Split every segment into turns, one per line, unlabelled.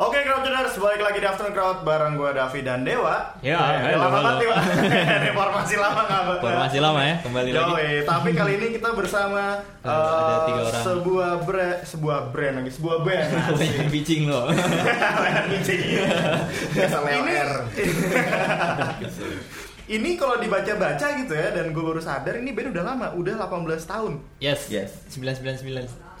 Oke, Crowdtuners, balik lagi di Afternoon Crowd bareng gue Davi dan Dewa.
Ya,
Eh,
halo,
lama
halo.
banget nih, Pak. Reformasi lama nggak Pak?
Formasi lama ya, kembali lagi.
Yoi, tapi kali ini kita bersama
Eh, ada
eh,
tiga orang.
sebuah brand, sebuah brand lagi, sebuah band.
Banyak bicing loh. Iya.
ini ini kalau dibaca-baca gitu ya dan gue baru sadar ini band udah lama, udah 18 tahun.
Yes.
Yes.
999.
1999.
Eh, 1999. 1999. 1999.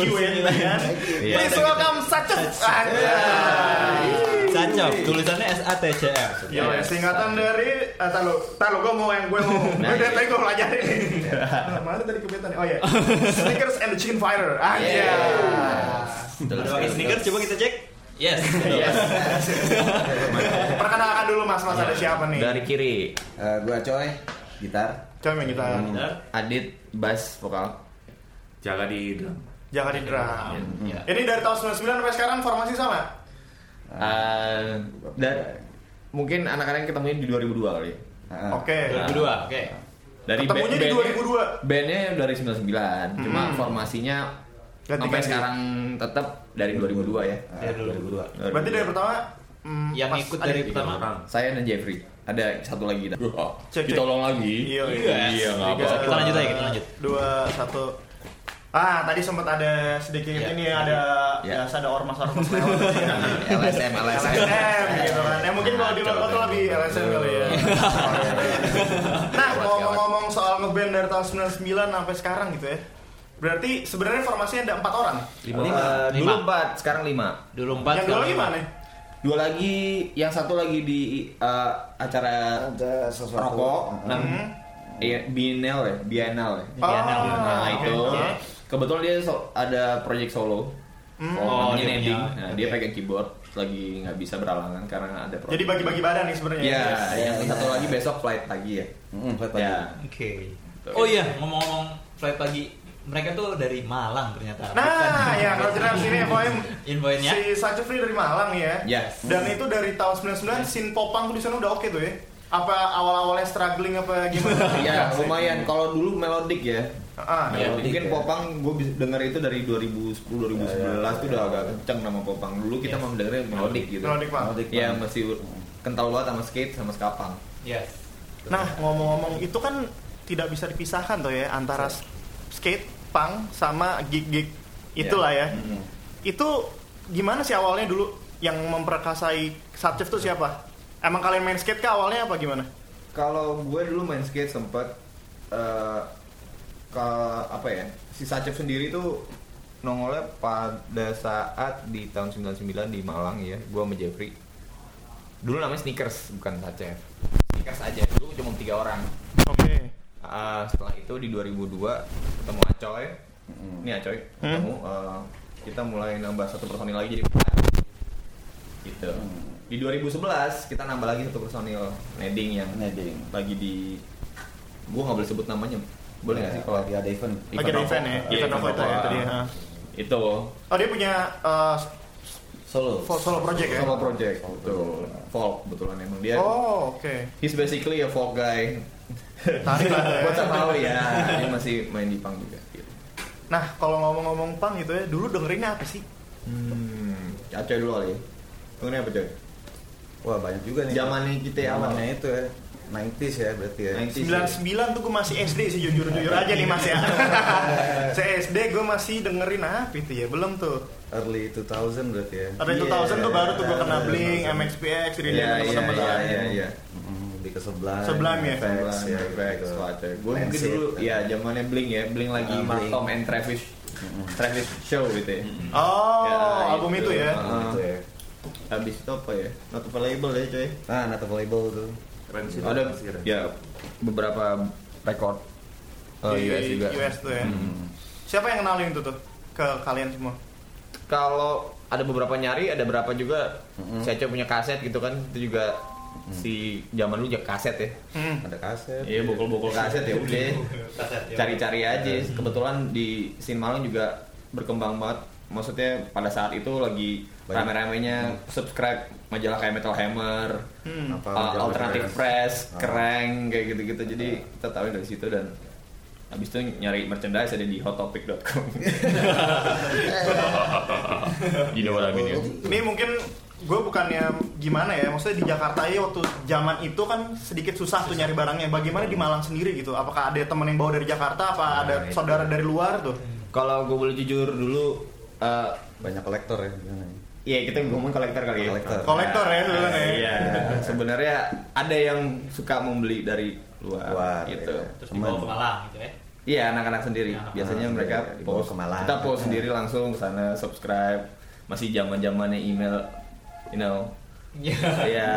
Iya.
Please welcome Sacet.
Sacop, tulisannya S A T C F.
Ya,
Iya.
singkatan dari eh tahu tahu gue mau yang gue mau
Nah,
gue
iya.
dari tadi gue pelajari nih. Ah, Mana tadi kebetulan? Oh ya, Snickers and the Chicken Fighter. Ah iya.
Ada pakai sneaker coba kita cek. Yes.
Perkenalkan dulu Mas Mas ada siapa nih?
Iya. Dari kiri.
Eh, gua coy gitar
Coba main gitar.
Adit bass vokal. Jaga di drum.
Jangan di drum.
Iya.
Ini dari tahun 99 sampai sekarang formasi sama.
Ah, dan mungkin anak-anak yang ketemuin di 2002 kali. ya.
Heeh.
Oke.
2002. Oke.
Dari
Ketemunya di
band-
2002.
Bandnya dari 99, cuma formasinya
Hmm. Ganti-ganti.
sampai sekarang tetap dari 2002 ya.
Dari 2002.
2002.
Berarti dari pertama mm,
Yang
Mas
ikut
Adit.
dari pertama.
saya dan Jeffrey ada satu lagi kita.
Cek, cek.
Ditolong lagi.
Iya, iya.
Iya, nggak
Tiga,
apa-apa.
Kita lanjut aja, kita lanjut.
Dua, satu. Ah, tadi sempat ada sedikit
Iya.
ini ada
Iya.
biasa ada ormas-ormas lewat. Iya.
LSM LSM
LSM gitu kan. Ya mungkin kalau di Lombok tuh lebih LSM kali ya. Nah, ngomong-ngomong soal ngeband dari tahun 99 sampai sekarang gitu ya. Berarti sebenarnya formasinya ada empat orang.
Lima.
Lima.
Dulu empat, sekarang lima.
Dulu 4
yang dua lagi mana?
dua lagi yang satu lagi di eh, acara
ada sesuatu
rokok
Heeh.
nah, iya, bienal ya bienal ya
Oh,
Diana.
nah itu
oke.
kebetulan dia so- ada project solo
Oh,
oh, namanya
dia
Neding.
punya.
Nah, dia
Oke.
pakai keyboard lagi nggak bisa beralangan karena ada project.
Jadi bagi-bagi badan nih sebenarnya.
Iya,
Iya,
yang
iya,
satu
iya.
lagi besok flight pagi ya.
Mm, buat pagi.
Ya,
Oke. Oh iya, ngomong-ngomong flight pagi, mereka tuh dari Malang ternyata.
Nah, ya kalau jelas sini FOM
Invoice-nya.
ya.
si Sachufri dari Malang nih ya.
Yes.
Dan itu dari tahun
Iya.
99 sin popang tuh di sana udah oke tuh ya. Apa awal-awalnya struggling apa gimana?
Iya, lumayan. Kalau dulu melodic ya.
Ah,
Nah,
Iya. Melodic,
mungkin
ya.
Popang gue denger itu dari 2010 2011 tuh udah agak kenceng nama Popang. Dulu kita mau dengerin melodic gitu.
melodic banget.
Melodic
Ya
banget.
masih kental banget sama skate sama skapang.
Yes.
Nah, ngomong-ngomong itu kan tidak bisa dipisahkan tuh ya antara s- skate punk sama gig-gig itulah ya.
Mm.
Itu gimana sih awalnya dulu yang memperkasai Satchef tuh siapa? Emang kalian main skate kah awalnya apa gimana?
Kalau gue dulu main skate sempet eh ke apa ya? Si Sacep sendiri tuh nongolnya pada saat di tahun 99 di Malang ya, gue sama Jeffrey. Dulu namanya sneakers bukan Sacep. Sneakers aja dulu cuma tiga orang.
Oke.
Ah, setelah itu di 2002 ketemu Acoy. Ini Acoy ketemu eh, kita mulai nambah satu personil lagi jadi empat. Gitu. Di 2011 kita nambah lagi satu personil Neding yang
Neding.
lagi di gua nggak boleh sebut namanya boleh nggak sih
Ya,
kalau
lagi ada event
Lagi ada
Ivanova.
event ya,
Iya,
event apa itu ya
Ivanova.
tadi. ha.
itu
Oh dia punya uh,
solo
solo project ya?
solo project
Solo
betul
project.
folk kebetulan emang dia
Oh oke.
he's basically a folk guy
Tarik lah ya.
buat tahu ya dia masih main di punk juga gitu.
Nah kalau ngomong-ngomong punk gitu ya, dulu dengerinnya apa sih?
hmm Acoy dulu kali ya Dengerin apa coy
wah banyak juga nih
zamannya gitu kita awalnya
zamannya itu ya 90s ya berarti ya
90s.
99 tuh gue masih SD sih jujur-jujur aja nih mas ya Saya SD gue masih dengerin apa itu ya, belum tuh
early 2000 berarti ya
Ada
Iya,
2000 tuh baru tuh gue kena
iya,
bling,
iya.
MXPX,
Iya,
Rilian, yeah,
iya
temen-temen
iya
ya
iya iya
Mm, di ke sebelah
Sebelah ya?
Effects, ya,
Perfect,
gitu.
Gue mungkin
Lancet.
dulu ya zamannya Blink ya, Blink lagi
Ah,
Mark
Blink.
Tom and Travis, Travis Show gitu ya.
Oh,
Ya,
album
itu.
itu ya
Ah.
Gitu ya.
Habis itu apa ya? Not available ya coy.
nah not available tuh
Ada ya beberapa record eh,
Di
US juga. Hmm.
US tuh ya Siapa yang kenalin itu tuh? Ke kalian semua
Kalau ada beberapa nyari, ada berapa juga saya coba punya kaset gitu kan, itu juga si zaman dulu juga kaset ya.
Hmm.
ada kaset
Iya, bokol-bokol kaset
Iya.
ya udah. cari-cari aja kebetulan di scene Malang juga berkembang banget maksudnya pada saat itu lagi
Banyak.
rame-ramenya subscribe majalah kayak Metal Hammer
Hmm.
Apa, Ah,
uh,
majalah
Alternative
Press. Ah.
Press, Kereng kayak gitu-gitu jadi kita tahu dari situ dan
Habis itu nyari merchandise ada di hottopic.com. you know what I mean, ya?
Ini mungkin gue bukannya gimana ya, maksudnya di Jakarta ya waktu zaman itu kan sedikit susah tuh nyari barangnya. Bagaimana di Malang sendiri gitu? Apakah ada temen yang bawa dari Jakarta? Apa ada
Nah, itu.
saudara dari luar tuh?
Kalau gue boleh jujur dulu eh,
Banyak kolektor ya. gimana ya?
Iya kita ngomong kolektor kali ya.
Kolektor.
Kolektor ya, dulu kan ya.
Iya. Sebenarnya ada yang suka membeli dari luar,
Luar,
gitu.
iya.
terus
Teman.
dibawa ke Malang gitu ya
Iya anak-anak sendiri.
Anak-anak
Biasanya
sendiri,
mereka
ya, dibawa
post
ke Malang.
Kita post sendiri langsung ke sana subscribe. Masih zaman zamannya email, you know. Iya.
Iya,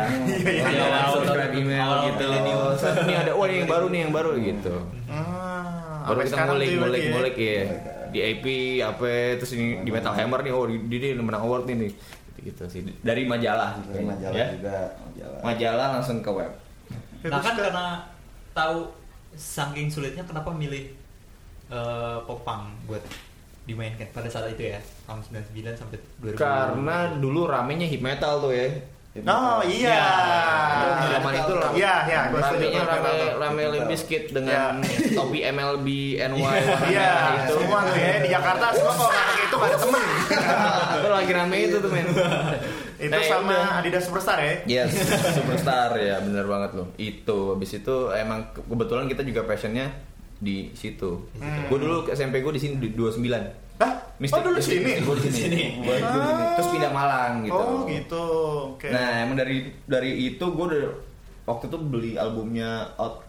Iya.
iya.
Subscribe email
Awal-awal
gitu.
milenium.
Saat Ini ada, oh ini yang baru nih yang baru gitu.
Ah, sampai
Baru kita
sekarang
ngulik,
tuh
ngulik,
berarti ya.
ngulik ya. Di AP, apa terus ini di Metal Hammer nih, oh di di- di menang award nih nih. Gitu, gitu sih. Dari majalah.
Dari majalah
Ya.
juga. Majalah.
Majalah langsung ke web.
Ya,
nah
terus
kan
ke-
karena tahu saking sulitnya kenapa milih eh, popang buat dimainkan pada saat itu ya tahun 99 sampai 2000
Karena dulu ramenya hip metal tuh ya.
Oh iya.
Di zaman Iya. itu lah.
Iya, iya. gua setuju,
Ramenya
gua
rame
setuju.
Hip
rame Limp
metal.
Bizkit dengan topi MLB NY. warna
Iya,
merah itu.
semua tuh ya di Jakarta semua kalau nggak pakai itu nggak ada temen.
Nah, Itu lagi rame itu tuh men.
itu
Nah, ya
sama
udah.
Adidas Superstar ya.
Yes, superstar ya bener banget loh. Itu habis itu emang ke- kebetulan kita juga passionnya di situ. Gue dulu ke SMP gue di sini di 29.
Hah?
Mistik-
Hmm. oh dulu
mistik.
sini.
Gua di sini. Gua di sini. Terus pindah Malang gitu.
Oh gitu. Oke.
Nah, emang dari dari itu gue udah waktu itu beli albumnya Out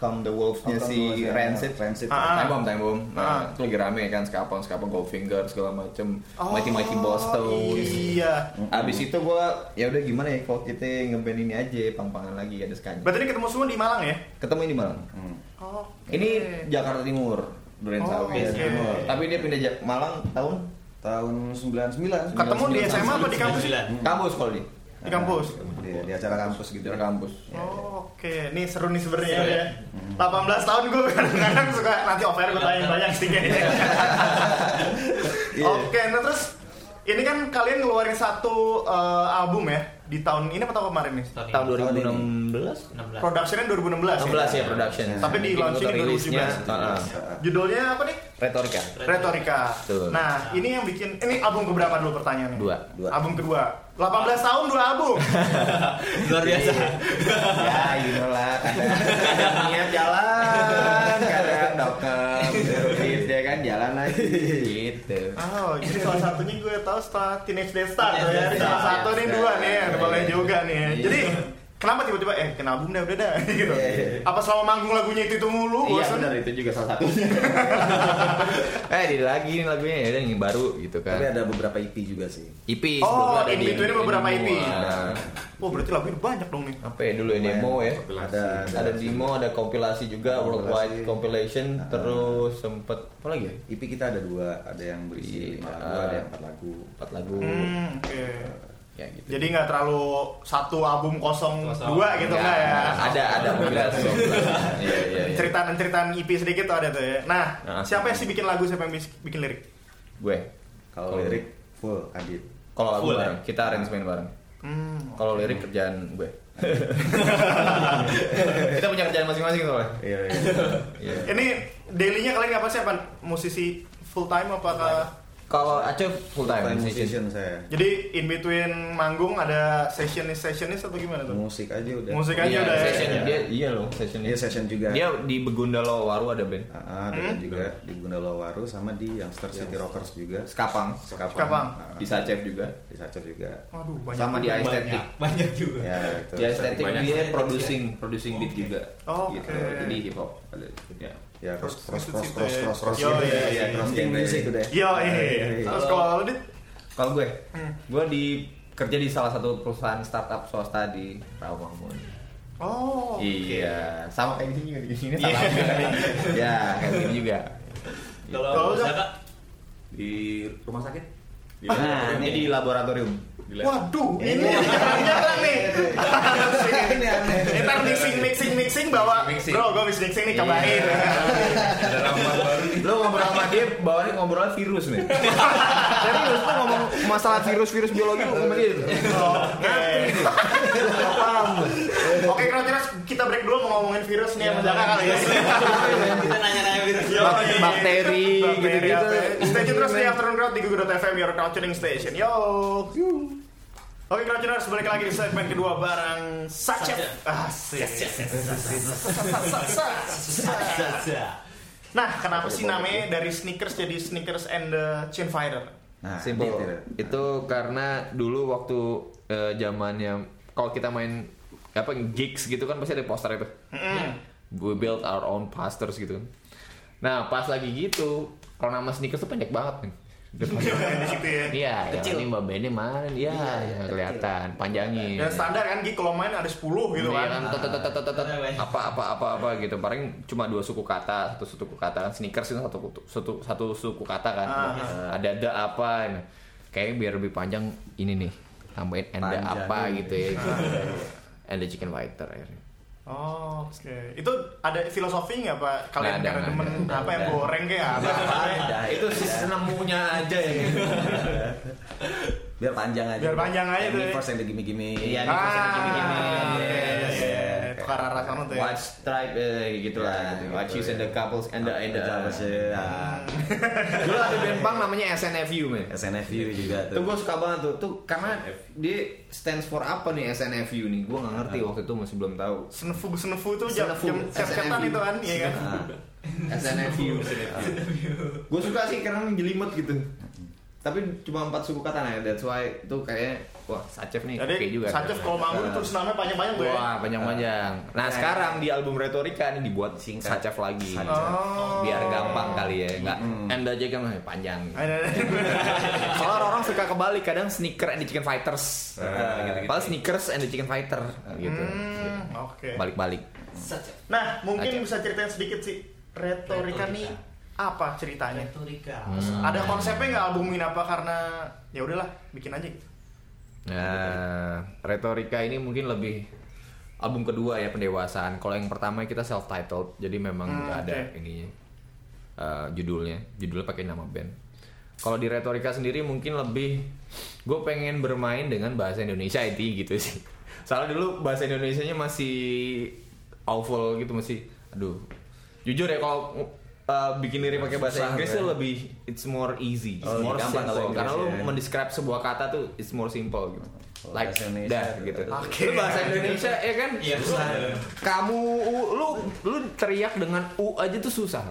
Come the Wolves-nya
Outcome the
si
Wolves, ya.
Rancid.
Rancid.
Ah.
Time Bomb, Time Bomb.
Ah.
Nah, itu lagi rame kan Skapang, Skapang Goldfinger segala macem
Oh,
Mighty Mighty Boston.
Iya.
Abis itu gue ya udah gimana ya kalau kita ngeband ini aja pang-pangan lagi ada skanya.
Berarti ini ketemu semua di Malang ya?
Ketemu ini Malang.
Hmm.
Oh.
Ini Jakarta Timur, Duren
Oh,
Sawit.
oke.
Tapi dia pindah Jak- Malang tahun
Tahun 99.
Ketemu di
99.
SMA apa di kampus?
99.
kampus kalau dia.
Di kampus.
Nah, Di, Hmm. di acara kampus gitu.
Di kampus.
Oh, Oke, nih seru nih sebenarnya
Seru ya?
ya. 18 tahun gue kadang-kadang suka nanti offer gue tanya banyak sih kayaknya. Oke, nah terus ini kan kalian ngeluarin satu eh, album ya di tahun ini apa tahun kemarin nih?
Tahun
ini, 16
2016.
Productionnya 2016.
16 ya production.
Tapi di launching di
rilisnya
2017. Judulnya apa nih?
retorika.
Retorika.
Betul.
Nah, ini yang bikin ini album keberapa dulu pertanyaannya?
Dua.
Dua.
Album kedua. 18 tahun dua album.
luar biasa
Iya, ya, you know lah. kadang- Kadang niat jalan, kadang dokem, terus ya kan jalan lagi gitu.
Oh, jadi salah satunya gue tahu setelah Teenage Death Star tuh ya.
Teenage Death
Salah
Star,
satu nih
Death
dua
Star.
nih, yang
Iya,
boleh
iya.
juga nih. ya.
Iya.
Jadi kenapa tiba-tiba eh kena album deh udah dah gitu.
Iya, iya.
Apa selama manggung lagunya itu itu mulu?
Iya
bosen?
benar itu juga salah satunya.
Eh, di lagi nih lagunya ya, yang baru gitu kan.
Tapi ada beberapa EP juga sih.
IP
Oh,
sebelumnya ada
in
di-
between beberapa
demo.
IP.
Nah,
Oh, berarti lagunya banyak dong nih.
apa ya dulu ya demo ya?
Ada
Ada demo, ada kompilasi juga,
Kompilasi.
worldwide compilation,
Ah.
terus sempet apa lagi ya?
EP kita ada dua, ada yang berisi lima
Iya.
lagu, ada yang empat lagu.
Empat lagu.
Hmm, oke.
Ya gitu.
Jadi nggak terlalu satu album kosong,
Kosong.
dua gitu enggak ya?
Iya, Ada ada kompilasi. Iya iya. iya.
Ceritaan-ceritaan IP E sedikit tuh ada tuh ya. Nah,
Nah.
siapa yang sih bikin lagu, siapa yang bis- bikin lirik?
Gue.
Kalau lirik full Adit.
kalau lagu
Full,
bareng, kita arrangement bareng.
Oh,
Hmm.
Kalau lirik kerjaan gue. kita punya kerjaan masing-masing soalnya.
Iya, iya.
Iya.
Ini dailynya kalian apa sih apa musisi full time apakah
Kalau Aceh full time
Time musician
musician.
saya.
Jadi in between manggung ada sessionis sessionis atau gimana
Hmm.
tuh?
Musik aja udah.
Musik aja
Iya,
udah ya.
session dia iya loh, session
Iya session juga.
Dia di Begundalo Waru ada band.
Ah, ah, ada
Hmm?
juga di Gundalawaru sama di Youngster City Rockers juga.
Skapang,
Skapang.
Skapang.
Ah,
di Sacef juga.
di Sacor juga.
Waduh banyak.
Sama di
banyak
Aesthetic.
banyak juga
Ya, gitu.
Di Aesthetic
Banyak.
dia producing, producing beat juga.
Oke.
Gitu. Jadi hip hop ada. Ya.
Ya, cross cross cross
Situ ya.
cross cross cross.
Yo, iya, iya.
cross game music udah. Nah,
Yo,
Iya,
eh. Terus kalau lu dit
Kalau gue, gue di kerja di salah satu perusahaan startup swasta di Rawamangun.
Oh.
Iya, sama kayak di sini juga di sini sama. ya, kayak gini juga.
Kalau
kalau
udah-
Zaka
Di rumah sakit? Di
Nah, ini di laboratorium.
Di lab.
Waduh,
Iya.
ini jarang-jarang nih.
Ini aneh.
Ntar mixing mixing mixing bawa
Mixing. Iya.
bro, gue mixing mixing nih cobain.
Ada ramuan baru nih.
Lo ngobrol sama dia, bawanya ngobrol virus nih. Serius, lo ngomong masalah virus-virus biologi lo ngomong gitu? dia.
Oke.
Iya,
Oke, kalau jelas kita break dulu mau ngomongin virus nih yang menjaga kali ya.
kita nanya-nanya gitu
Yoi.
bakteri
Iya, Bakteri
gitu-gitu. Iya.
apa ya. Stay tune terus di Afternoon Crowd di Gugu.fm, your crowd tuning station. Yo. Oke, Crowdtuners, balik lagi di segmen kedua bareng Ah, Sacep. Asik. Nah, kenapa sih namanya dari sneakers jadi sneakers and the chin fighter?
Nah,
Simple.
gitu deh.
Itu karena dulu waktu eh, zamannya kalau kita main apa gigs gitu kan pasti ada poster itu. We build our own posters gitu kan. Nah, pas lagi gitu, kalau nama sneakers tuh pendek banget kan.
di situ ya.
Iya, ya,
Kecil.
ini Mbak Benny mana? Iya, ya, kelihatan panjangin.
Dan standar kan, Gi, kalau main ada 10 gitu
Iya
kan.
kan, tetet, tetet, tetet, tetet,
Iya, iya.
apa apa apa apa gitu paling cuma dua suku kata satu suku kata kan sneakers itu satu kutu- satu satu suku kata kan
Ah.
ada ada apa ini. kayaknya biar lebih panjang ini nih tambahin ada
Panjang.
apa gitu ya ada chicken fighter akhirnya
Oh, oke. Itu ada filosofi nggak, Pak? Kalian
Nggak ada,
karena
nggak
demen apa
ada.
yang
Nggak ada.
goreng kayak apa? Ah,
Ada,
itu senemunya aja ya
biar panjang aja
Biar panjang aja
Yang
tuh ya.
first yang Iya, gini-gini
Iya,
Ah,
ini filosofi gini-gini.
oke, iya,
Yes,
oke.
yes.
Tukar arah sama tuh ya.
What stripe eh, gitu
Ya,
lah gitu.
gitu,
What shoes
ya.
and the couples ya. and the and the
Apa sih?
Hmm.
Nah,
dulu ada band punk namanya SNFU men
SNFU juga
Tuh
tuh Ah,
gue suka banget tuh, tuh karena dia stands for apa nih SNFU nih? Gue nggak ngerti waktu itu masih belum tahu.
Senefu senefu tuh jam
Senefu,
jam cetan
SNFU.
itu kan, iya kan?
Nah,
SNFU. gue suka sih karena menjelimet gitu. Tapi cuma empat suku kata nah, that's why itu kayaknya wah Sacef nih,
Jadi
oke juga. kan.
Sacef kalau manggung terus namanya panjang-panjang ya. gue.
Wah panjang-panjang. Nah sekarang di album Retorika ini dibuat
Singkat.
Sacef lagi.
Sacef.
Oh.
Biar gampang kali ya, nggak end aja kan panjang.
Ada- ada.
Soalnya orang suka kebalik kadang sneaker and the chicken fighters.
Ah, gitu-gitu.
Padahal sneakers and the chicken fighter gitu.
Hmm, Oke.
Balik-balik.
Nah, mungkin
Ajak.
bisa ceritain sedikit sih retorika
Retorika.
nih apa ceritanya?
Retorika.
Hmm.
Ada konsepnya nggak albumin apa karena ya udahlah bikin aja gitu.
Nah, retorika ini mungkin lebih album kedua ya pendewasaan. Kalau yang pertama kita self titled, jadi memang
Hmm,
nggak ada
oke.
ininya eh, judulnya. Judulnya pakai nama band. Kalau di retorika sendiri mungkin lebih gue pengen bermain dengan bahasa Indonesia itu gitu sih. Soalnya dulu bahasa Indonesianya masih awful gitu masih. Aduh, jujur ya kalau eh, bikin lirik pakai bahasa
Susah,
Inggris
kan?
tuh lebih it's more easy, it's
Oh, lebih
more
gampang kalau
simple. gitu Karena
Inggris
lu
ya.
mendescribe sebuah kata tuh it's more simple gitu.
Kalau
Like
bahasa Indonesia
that
tuh,
gitu.
Oke.
Lu bahasa Indonesia ya kan?
Iya,
Lu-
susah.
Kamu u- lu lu teriak dengan u aja tuh susah.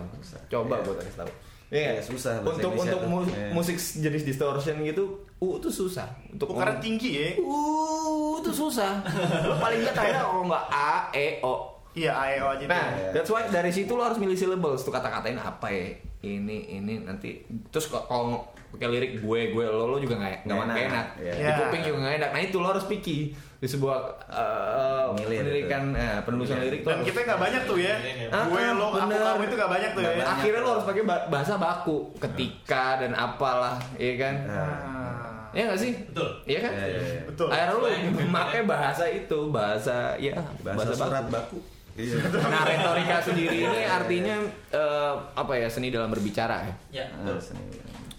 Coba
Iya.
gua kasih tahu.
Iya, susah bahasa
Untuk
Indonesia
untuk
tuh.
mu-
Iya.
musik jenis distortion gitu u tuh susah. Untuk
Ukuran
ngomong,
tinggi ya.
u tuh susah. lu paling nggak tahu kalau nggak a e o
Iya, AEO aja.
Nah,
deh.
that's why dari situ lo harus milih syllables tuh kata-katain apa ya ini ini nanti terus kok- kalau pakai lirik gue gue lo lo juga nggak nggak
Nggak
enak,
enak,
enak.
ya.
Iya,
di kuping juga nggak enak nah itu lo harus picky di sebuah eh,
Milih,
pendidikan eh, penulisan lirik tuh
Dan
harus-
kita nggak banyak tuh ya.
Ah,
Gue lo aku
bener.
kamu itu nggak banyak tuh ya.
Nggak banyak.
akhirnya lo harus pakai ba- bahasa baku ketika dan apalah iya kan
Ah,
Iya nggak sih
Betul.
iya kan
Iya, iya, iya.
Betul.
akhirnya lo memakai bahasa itu bahasa ya
bahasa surat baku iya
Nah, retorika sendiri ini artinya eh, apa ya seni dalam berbicara
Ya,
ya.
Ah,
betul.
seni.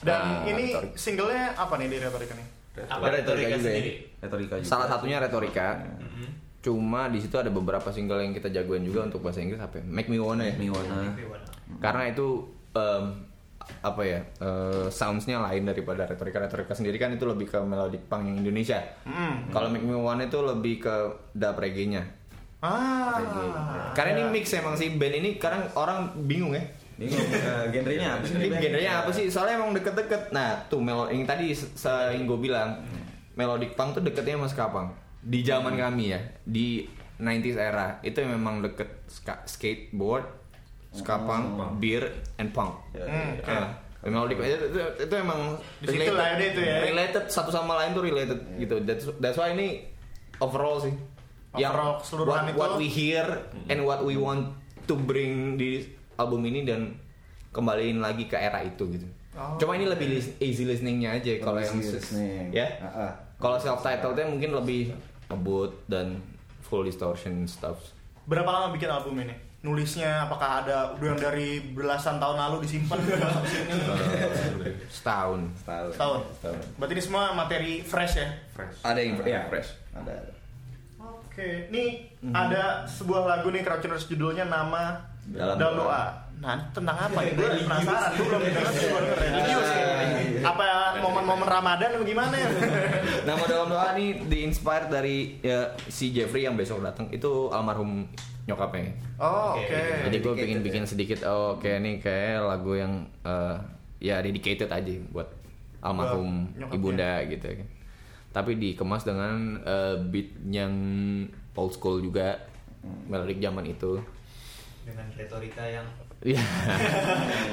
Dan
Ah,
ini
retorika.
singlenya apa nih di retorika nih?
Apa
Retorika
retorika
juga Iya. ya.
sendiri?
retorika juga
Salah satunya retorika.
Mhm.
Cuma di situ ada beberapa single yang kita jagoin juga untuk bahasa Inggris apa ya? Make me wanna ya.
Miwana
Karena itu em, apa ya? eh, soundsnya lain daripada retorika. Retorika sendiri kan itu lebih ke melodic punk yang Indonesia.
Hmm.
Kalau make me wanna itu lebih ke dub reggae-nya.
Ah.
gitu.
iya.
Karena ini mix emang sih band ini kadang orang bingung ya.
bingung eh,
Nah,
genrenya apa sih
Ini genrenya apa
Iya.
sih? Soalnya emang deket-deket. Nah, tuh melo yang tadi se- se- yang gue bilang
Hmm.
melodic punk tuh deketnya sama ska punk. Di zaman kami ya, di 90s era itu memang deket ska- skateboard,
Oh.
ska punk, beer and punk.
Ya,
Hmm.
iya.
Ah, melodic itu, itu, itu emang
Di situ lah ada itu ya.
related satu sama lain tuh related gitu. That's, that's why ini overall sih.
Overall keseluruhan
what,
itu- Hmm.
what we hear and what we want to bring di album ini dan kembaliin lagi ke era itu gitu.
Oh.
Cuma ini lebih lis- easy listeningnya aja kalau yang
Easy listening.
ya.
Ah, ah.
Kalau self titled-nya mungkin lebih ngebut dan full distortion stuff.
Berapa lama bikin album ini? Nulisnya apakah ada udah yang dari belasan tahun lalu disimpan sampai sini?
Setahun.
setahun
Setahun.
setahun
Berarti ini semua materi fresh ya?
Ada yang
Ah.
ya, fresh.
ada ada.
Mhm.
Oke. Nih ada sebuah lagu nih Crouchers judulnya nama
Dalam
dalam
doa.
doa. Nah, ini tentang apa nih? Gue penasaran, gue belum dengar sih,
Iya,
gua denger ya.
Religius ya.
Apa momen-momen Ramadan atau gimana ya?
Nama dalam doa nih Nah, diinspire dari ya, si Jeffrey yang besok datang itu almarhum nyokapnya.
Oh,
Oke.
oke.
Jadi gue
dedicated
pengen
ya.
bikin sedikit oh kayak nih kayak lagu yang eh, ya dedicated aja buat almarhum
Buat nyokapnya.
ibunda gitu. Tapi dikemas dengan eh, beat yang old school juga melodik zaman itu.
dengan retorika yang
Iya.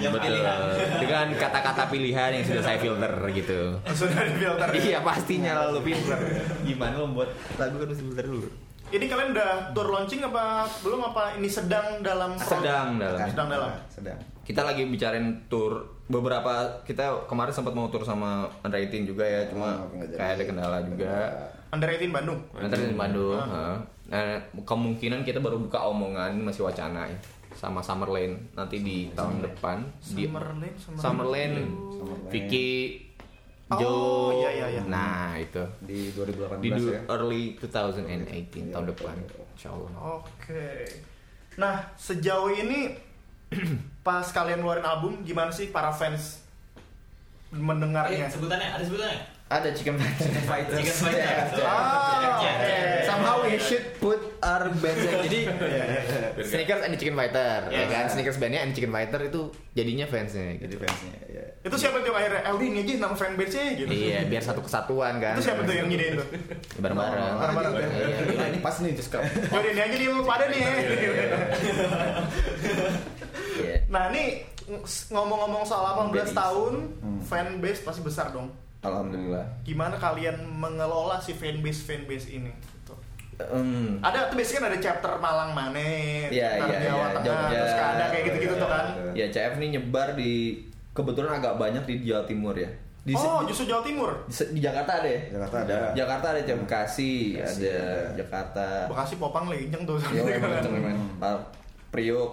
Yang
betul.
pilihan.
Eh, Dengan kata-kata pilihan yang sudah saya filter gitu.
Sudah di filter.
Iya pastinya lalu pinter.
Gimana lo membuat lagu harus filter dulu?
Ini kalian udah tour launching apa belum apa ini sedang dalam
Sedang dalam.
Sedang dalam.
Sedang.
Kita lagi bicarain tour beberapa kita kemarin sempat mau tour sama Unrating juga ya, cuma
Oh, nggak jadi.
kayak ada kendala juga.
Under 18 Bandung.
Nanti di Bandung.
Ah.
heeh. Nah, kemungkinan kita baru buka omongan masih wacana ya sama Summerlane nanti di tahun depan di
Summerlane, Summerlane.
Summerlane,
Summerlane.
Vicky
Oh,
Joe
iya, iya, iya.
nah itu
Di 2018
di du- early 2018 tahun depan
Iya,
insyaallah
Oke. Nah, sejauh ini pas kalian ngeluarin album gimana sih para fans
eh,
mendengarnya?
sebutannya ada sebutannya
Ada Chicken Chicken Fighters.
Chicken Fighters.
Ya, ya.
Ah,
Ya,
oke.
ya, ya.
Somehow we should put our bands
Iya,
Jadi
Sneakers and the Chicken Fighter, ya
Yes.
kan? Sneakers bandnya and the Chicken Fighter itu jadinya fansnya
jadi
gitu.
fansnya ya.
Itu siapa tuh akhirnya? Eh, udah ini aja nama fanbase-nya gitu.
Iya, biar satu kesatuan
Iya.
kan.
Itu siapa tuh yang ngidein tuh?
Bareng-bareng.
Bareng-bareng.
Iya, iya.
Nah, ini pas nih just
Yaudah ini aja nih lu pada nih. ya.
Iya.
Nah, ini ngomong-ngomong soal 18 tahun, fanbase pasti besar dong.
Alhamdulillah.
Gimana kalian mengelola si fanbase fanbase ini? Gitu.
Hmm.
Ada tuh biasanya kan ada chapter Malang mana,
Iya,
chapter
iya,
Jawa
iya,
Tengah,
Jogja,
terus ada kayak gitu-gitu tuh kan.
Ya CF ini nyebar di kebetulan agak banyak di Jawa Timur ya. Di se-
Oh, justru Jawa Timur.
di, se- di Jakarta ada ya?
Jakarta ada.
Jakarta ada Jam Bekasi,
Bekasi iya.
ada
ada.
Jakarta.
Bekasi Popang lagi kenceng tuh
Yo,
sampai
emang
Hmm.
kenceng
sekarang.
memang. Par- Priok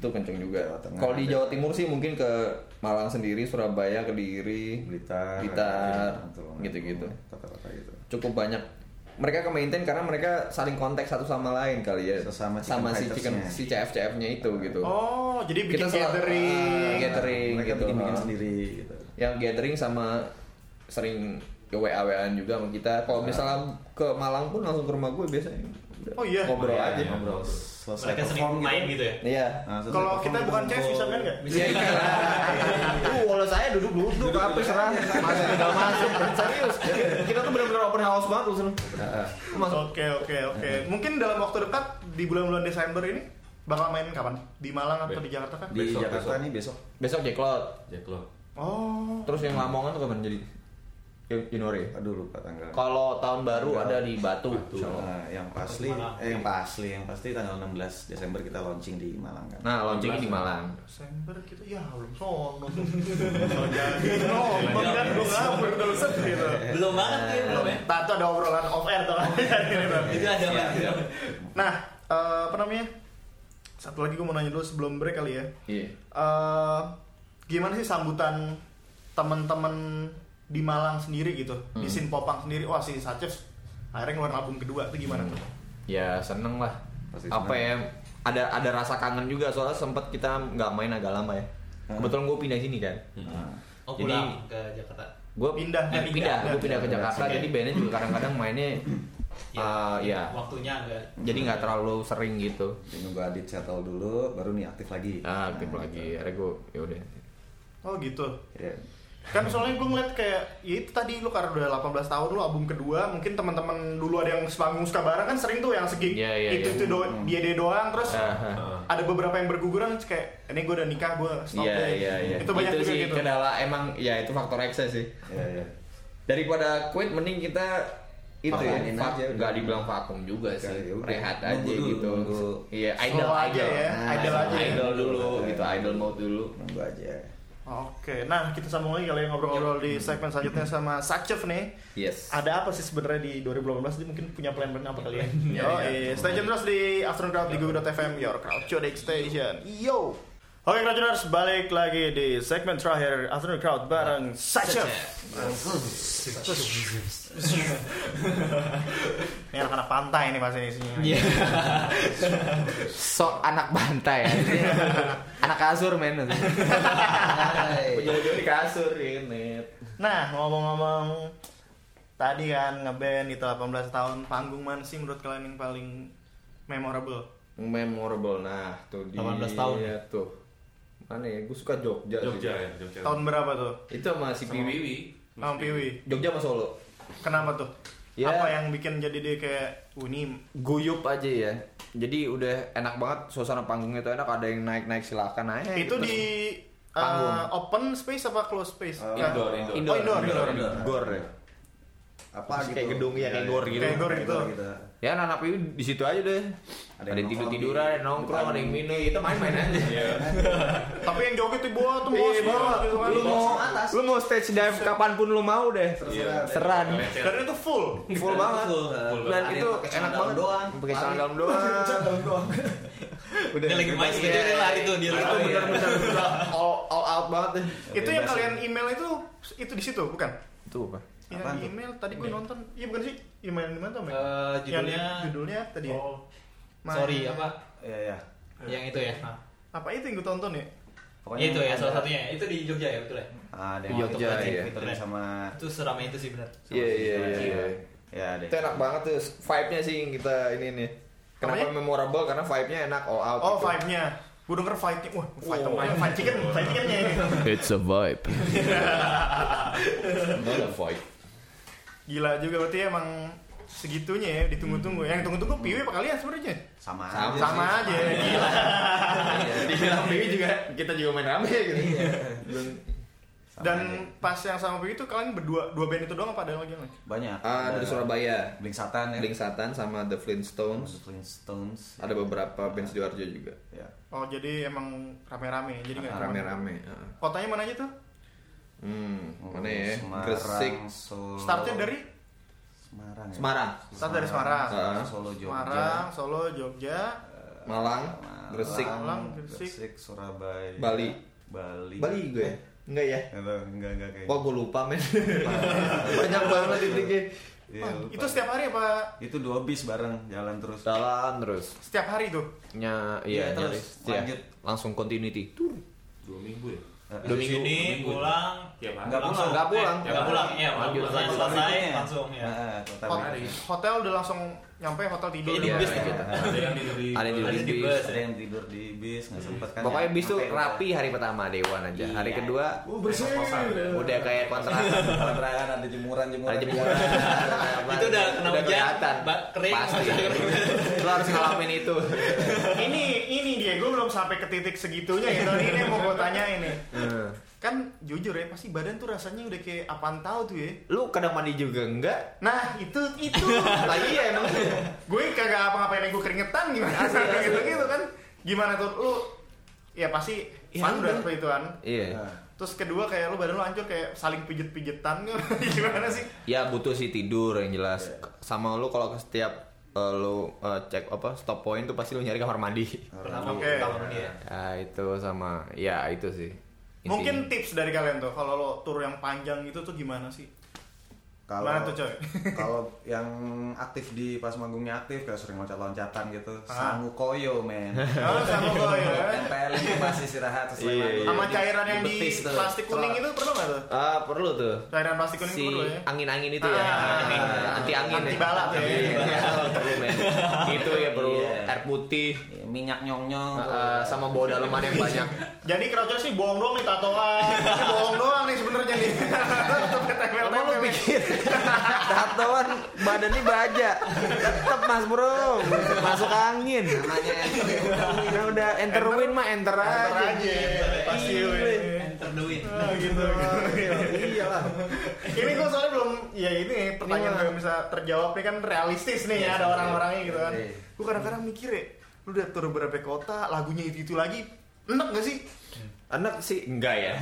itu kenceng juga.
Jawa Tengah
Kalau di
ada.
Jawa Timur sih mungkin ke Malang sendiri, Surabaya, Kediri,
Blitar, Gitu.
Blitar,
Bantul,
gitu-gitu.
Kota-kota gitu.
Cukup banyak. Mereka ke maintain karena mereka saling kontak satu sama lain kali ya.
Sesama chicken
sama si chicken
fightersnya.
si CFCF-nya itu gitu.
Oh, jadi bikin
Kita selalu-
gathering.
Ah, Gathering
Mereka
gitu,
bikin-bikin
ha.
sendiri gitu.
Yang gathering sama sering WA WA-an juga sama
Ah.
kita. Kalau misalnya ke Malang pun langsung ke rumah gue biasanya. Udah,
Oh iya.
Ngobrol
Iya,
aja.
iya.
Ngobrol selesai
mereka sering
perform
main gitu ya
Iya.
Nah, selesai
Kalau
perform
kita bukan
ngumpul.
chef bisa kan enggak?
Iya iya. Tuh, kalau saya duduk-duduk Iya, apa serah masuk tinggal masuk serius. Kita tuh benar-benar open house banget loh seneng. Masuk.
Oke, oke, oke. Mungkin dalam waktu dekat di bulan-bulan Desember ini bakal main kapan? Di Malang atau di Jakarta kan?
Di
Besok,
Jakarta
besok.
nih besok.
Besok Jacklot.
Jack lo.
Oh.
Terus yang Lamongan tuh kapan jadi? Ya, Januari. ya?
Aduh lupa tanggal.
Kalau tahun baru ada di Iya. Batu. insyaallah.
Nah, yang pasti eh yang pasti yang pasti tanggal 16 Desember kita launching di Malang kan.
Nah, launching di Malang.
Desember kita ya belum sono. Sono jadi nonton kan gue ngabur terus gitu.
belum banget tuh ya, belum ya
Nah, itu ada obrolan off air tuh.
Iya.
itu ada apa
Nah, eh, apa namanya? Satu lagi gue mau nanya dulu sebelum break kali ya.
Iya.
Eh, gimana sih sambutan teman-teman di Malang sendiri gitu,
Hmm.
di Sin Popang sendiri? Wah, si Sacef akhirnya ngeluarin album kedua itu gimana tuh?
ya seneng lah
Pasti
apa
seneng.
ya ada ada rasa kangen juga soalnya sempet kita nggak main agak lama ya kebetulan gue pindah sini kan
Nah,
oh
Jadi-
pulang ke Jakarta
gue
Pindah,
eh,
pindah,
pindah gue
pindah.
pindah ke Ya. Jakarta
Oke.
jadi bandnya juga kadang-kadang mainnya eh, ya
waktunya agak
jadi nggak terlalu sering gitu
jadi nunggu Adit settle dulu baru nih aktif lagi.
ah, aktif
Nah,
lagi
gitu.
akhirnya ya gue yaudah
Oh gitu.
Ya.
Kan soalnya gue ngeliat kayak ya itu tadi lu karena udah 18 tahun lu album kedua mungkin teman-teman dulu ada yang sepanggung suka bareng kan sering tuh yang segig
Iya, iya,
itu
iya.
itu do- dia dia doang terus
Ah,
ada beberapa yang berguguran terus kayak ini gue udah nikah gue stop
Iya
deh.
iya iya.
itu banyak juga
sih
gitu
kendala emang ya itu faktor ekses sih.
Ya, ya.
Daripada quit mending kita itu ya,
Fakanin
fa-
aja udah.
nggak dibilang vakum juga
Oke,
sih,
yaudah.
rehat aja
Nunggu dulu,
gitu.
nunggu.
Iya,
Slow
idol
aja
idol. Ah,
ya, idol aja ya.
Idol dulu
Oke.
gitu, idol mode dulu.
Nunggu aja.
oke nah kita sambung lagi kali ya ngobrol-ngobrol di segmen selanjutnya sama Sakchev nih
Yes.
ada apa sih sebenarnya di 2018 dia mungkin punya plan-plan apa kali ya?
Iya,
Yo,
iya.
eh, stay tune terus di Afternoon Crowd di Google.fm, your crowd, your station. Yo! Oke, Oke Crowdtuners, balik lagi di segmen terakhir Afternoon Crowd bareng Sacha. Ini anak-anak pantai nih pasti isinya.
Iya.
Sok anak bantai. anak kasur men.
Jauh-jauh di kasur ini.
Nah, ngomong-ngomong tadi kan ngeband itu 18 tahun panggung mana sih menurut kalian yang paling memorable?
Memorable nah tuh di
18 tahun.
ya, tuh. Mana ya? Gue suka Jogja. sih.
Jogja ya, Jogja.
Tahun berapa tuh?
Itu sama si
Sama
Piwi.
Wiwi.
Tahun Piwi.
Jogja sama Solo.
Kenapa tuh?
Ya.
Apa yang bikin jadi dia kayak unim?
Guyup aja ya. Jadi udah enak banget suasana panggungnya tuh enak ada yang naik-naik silakan naik.
Eh,
itu
gitu.
di uh,
Panggung.
open space apa close space?
Eh,
Uh,
Kan?
Indoor, indoor.
Oh, indoor, indoor.
gor ya.
apa
Terus kayak gedung, ya,
Iya,
kayak gor gitu.
Kayak gor gitu.
Ya anak-anak Piwi di situ aja deh.
Ada
Ada
yang
yang tidur
nongkrong di
tiduran, ada yang nongkrong,
depan.
ada yang minum, kita main-main aja.
Tapi yang joget di bawah
Iya,
tuh bos, bawah gitu kan.
Lu mau
atas.
lu mau stage dive Iya. kapanpun lu mau deh. Seran.
Dan itu full.
Iya,
Full banget.
Full,
Dan
ada
itu
yang pakai celana
enak banget.
dalam doang.
Pakai celana dalam doang. Udah.
Dia lagi main
bebas
gitu
ya.
dia lari tuh dia lari.
Itu benar-benar all all out banget deh.
Itu
iya.
yang kalian email itu itu di situ bukan?
Itu apa?
Yang
Apaan
di
tuh?
email tadi gue nonton. Iya bukan sih? Email yang mana tuh? Mike?
Eh, judulnya
yang, judulnya tadi. ya?
Oh,
Main-
sorry apa?
Iya, iya.
Yang itu ya.
Apa itu yang gue tonton ya?
Pokoknya
Ya itu ya
ada-
salah satunya. Itu di Jogja ya betul ya.
Ah, Ada
Di
yang
Jogja,
Jogja
ya.
iya.
sama
Itu seramai itu sih benar.
Iya iya iya, iya.
ya deh.
Itu enak banget tuh vibe-nya sih yang kita ini nih. Kenapa
Apanya?
memorable karena vibe-nya enak all out.
Oh,
gitu.
vibe-nya. Gue denger fight-nya. Wah, fight temannya. Fight chicken. Fight chicken-nya ya. ini.
It's a vibe.
Not a vibe.
Gila juga berarti emang segitunya ya ditunggu-tunggu. Yang ditunggu-tunggu piwi apa kalian
Iya
sebenarnya?
sama
Sama.
aja
Sama aja. Gila.
Iya. Dibilang Dewi juga kita juga main rame gitu.
Iya. Sama
Dan
aja.
pas yang sama piwi itu kalian berdua dua band itu doang apa ada lagi yang lain?
banyak.
Ah, dari Surabaya.
Blink Satan ya.
Blink Satan sama The Flintstones.
Blink Stones.
Ada beberapa band Sidoarjo juga.
Ya.
Oh jadi emang rame-rame, jadi nggak cuma-
Rame-rame. heeh.
Kotanya mana aja tuh?
Hmm,
Oh,
mana ya?
Semarang,
Gresik,
Solo.
Startnya dari
Semarang. ya?
Semarang,
start dari Semarang,
Heeh.
Solo Jogja.
Semarang, Solo, Jogja,
Malang,
Malang,
Gresik,
Malang, Gresik.
Surabaya.
Bali.
Bali.
Bali gue. ya? Enggak ya?
Enggak enggak enggak kayak.
Wah, gue lupa men. Banyak banget titiknya.
Iya,
Wah,
lupa.
itu setiap hari apa?
itu dua bis bareng jalan terus.
Jalan terus.
Setiap hari tuh?
Nya,
Iya,
iya,
terus.
nyaris. Iya.
Lanjut.
Langsung continuity. Tuh.
Dua minggu ya.
Eh,
Dua
Di
minggu.
sini
dua minggu.
pulang
Tiap hari.
Nggak
langsung.
pulang, nggak pulang.
Eh, nggak pulang. Iya,
Lanjut,
pulang.
lanjut,
selesai
berikutnya.
langsung ya.
Nah, total
Hot-
berikutnya.
hotel udah langsung nyampe hotel tidur.
Kayak ya? di
Udah.
bis
Iya.
tuh.
Ada yang tidur di
Ada yang tidur
Ada
di
di
bis.
bus. ya.
ada yang tidur di bis nggak sempet kan
Pokoknya
ya.
bis tuh
Sampai
rapi hari pertama dewan aja. Hari kedua Iya,
Oh, bersih.
udah kayak kontrakan.
kontrakan ada jemuran jemuran
Ada
Iya.
jemuran.
Itu udah Iya. kena hujan,
kelihatan.
ba- kering,
Pasti.
masih
Lo harus ngalamin itu.
ini ini dia gue belum sampai ke titik segitunya gitu. Ini yang mau gue tanya ini. Kan jujur ya pasti badan tuh rasanya udah kayak apaan tahu tuh ya.
Lu kadang mandi juga enggak?
Nah itu itu
Lah iya emang. Iya,
gue kagak apa-ngapain gue keringetan gimana gitu gitu kan gimana tuh lu ya pasti
Ya,
fun udah
udah.
seperti itu kan
Iya.
terus kedua kayak lu badan lu hancur kayak saling pijet-pijetan gimana sih
Ya butuh sih tidur yang jelas. Sama lu kalau ke setiap eh, lu eh, cek apa stop point tuh pasti lu nyari kamar mandi.
Nah,
Pertama
Oke.
pertama dia.
Ya itu sama ya itu sih. Intinya.
mungkin tips dari kalian tuh kalau lo tur yang panjang gitu tuh gimana sih
kalau
Mana tuh, coy?
kalau yang aktif di pas manggungnya aktif kayak sering loncat loncatan gitu
Ah.
sangu koyo men
kalau sama gue ya
tempelin di pas istirahat sesuai
Iya, iya.
sama cairan yang di
betis tuh. Iya,
plastik kuning
Celak.
itu perlu nggak tuh
Ah, perlu tuh.
cairan plastik kuning
Si
itu perlu ya
angin-angin itu ya.
Ah,
anti angin.
anti bala tuh ya.
perlu men. Itu ya perlu
Iya.
air putih
minyak nyong nyong
Ah,
eh, sama bawa daleman yang banyak.
jadi kerocos sih bohong doang nih tatoan Ini bohong doang nih sebenarnya nih Tetep ketempel-tempel.
Tatoan badannya baja. Tetep Mas Bro. Masuk angin.
namanya
Nah, udah enter win mah enter
Enter
aja.
aja Iya, pasti ya.
iya.
weh.
Enter duit.
Oh, gitu.
Iya lah.
ini gue soalnya belum ya ini pertanyaan
Iya.
belum bisa terjawab nih kan realistis nih ya ada orang-orangnya gitu kan
Iya.
gue kadang-kadang mikir ya lu udah tur berapa kota lagunya itu itu lagi enak gak sih
Enak sih enggak ya.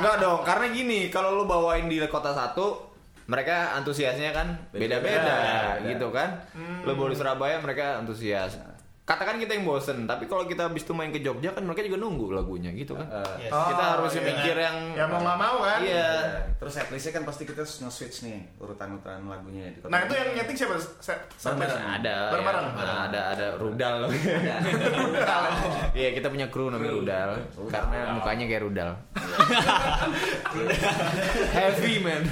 enggak dong, karena gini, kalau lu bawain di kota satu, mereka antusiasnya kan beda-beda
Beda-beda.
gitu kan. Lu bawa di Surabaya mereka antusias.
katakan kita yang bosen tapi kalau kita habis itu main ke Jogja kan mereka juga nunggu lagunya gitu kan
Yes.
Eh,
kita
Oh,
harus
iya.
mikir yang
Ya mau nggak mau kan?
iya
Terus at least kan pasti kita nge-switch nih urutan-urutan lagunya di kota.
Nah itu yang nyeting siapa? Se-
Bareng-bareng.
ada ya.
Bareng-bareng.
Nah, ada ada rudal iya kita punya kru namanya rudal karena mukanya kayak rudal heavy man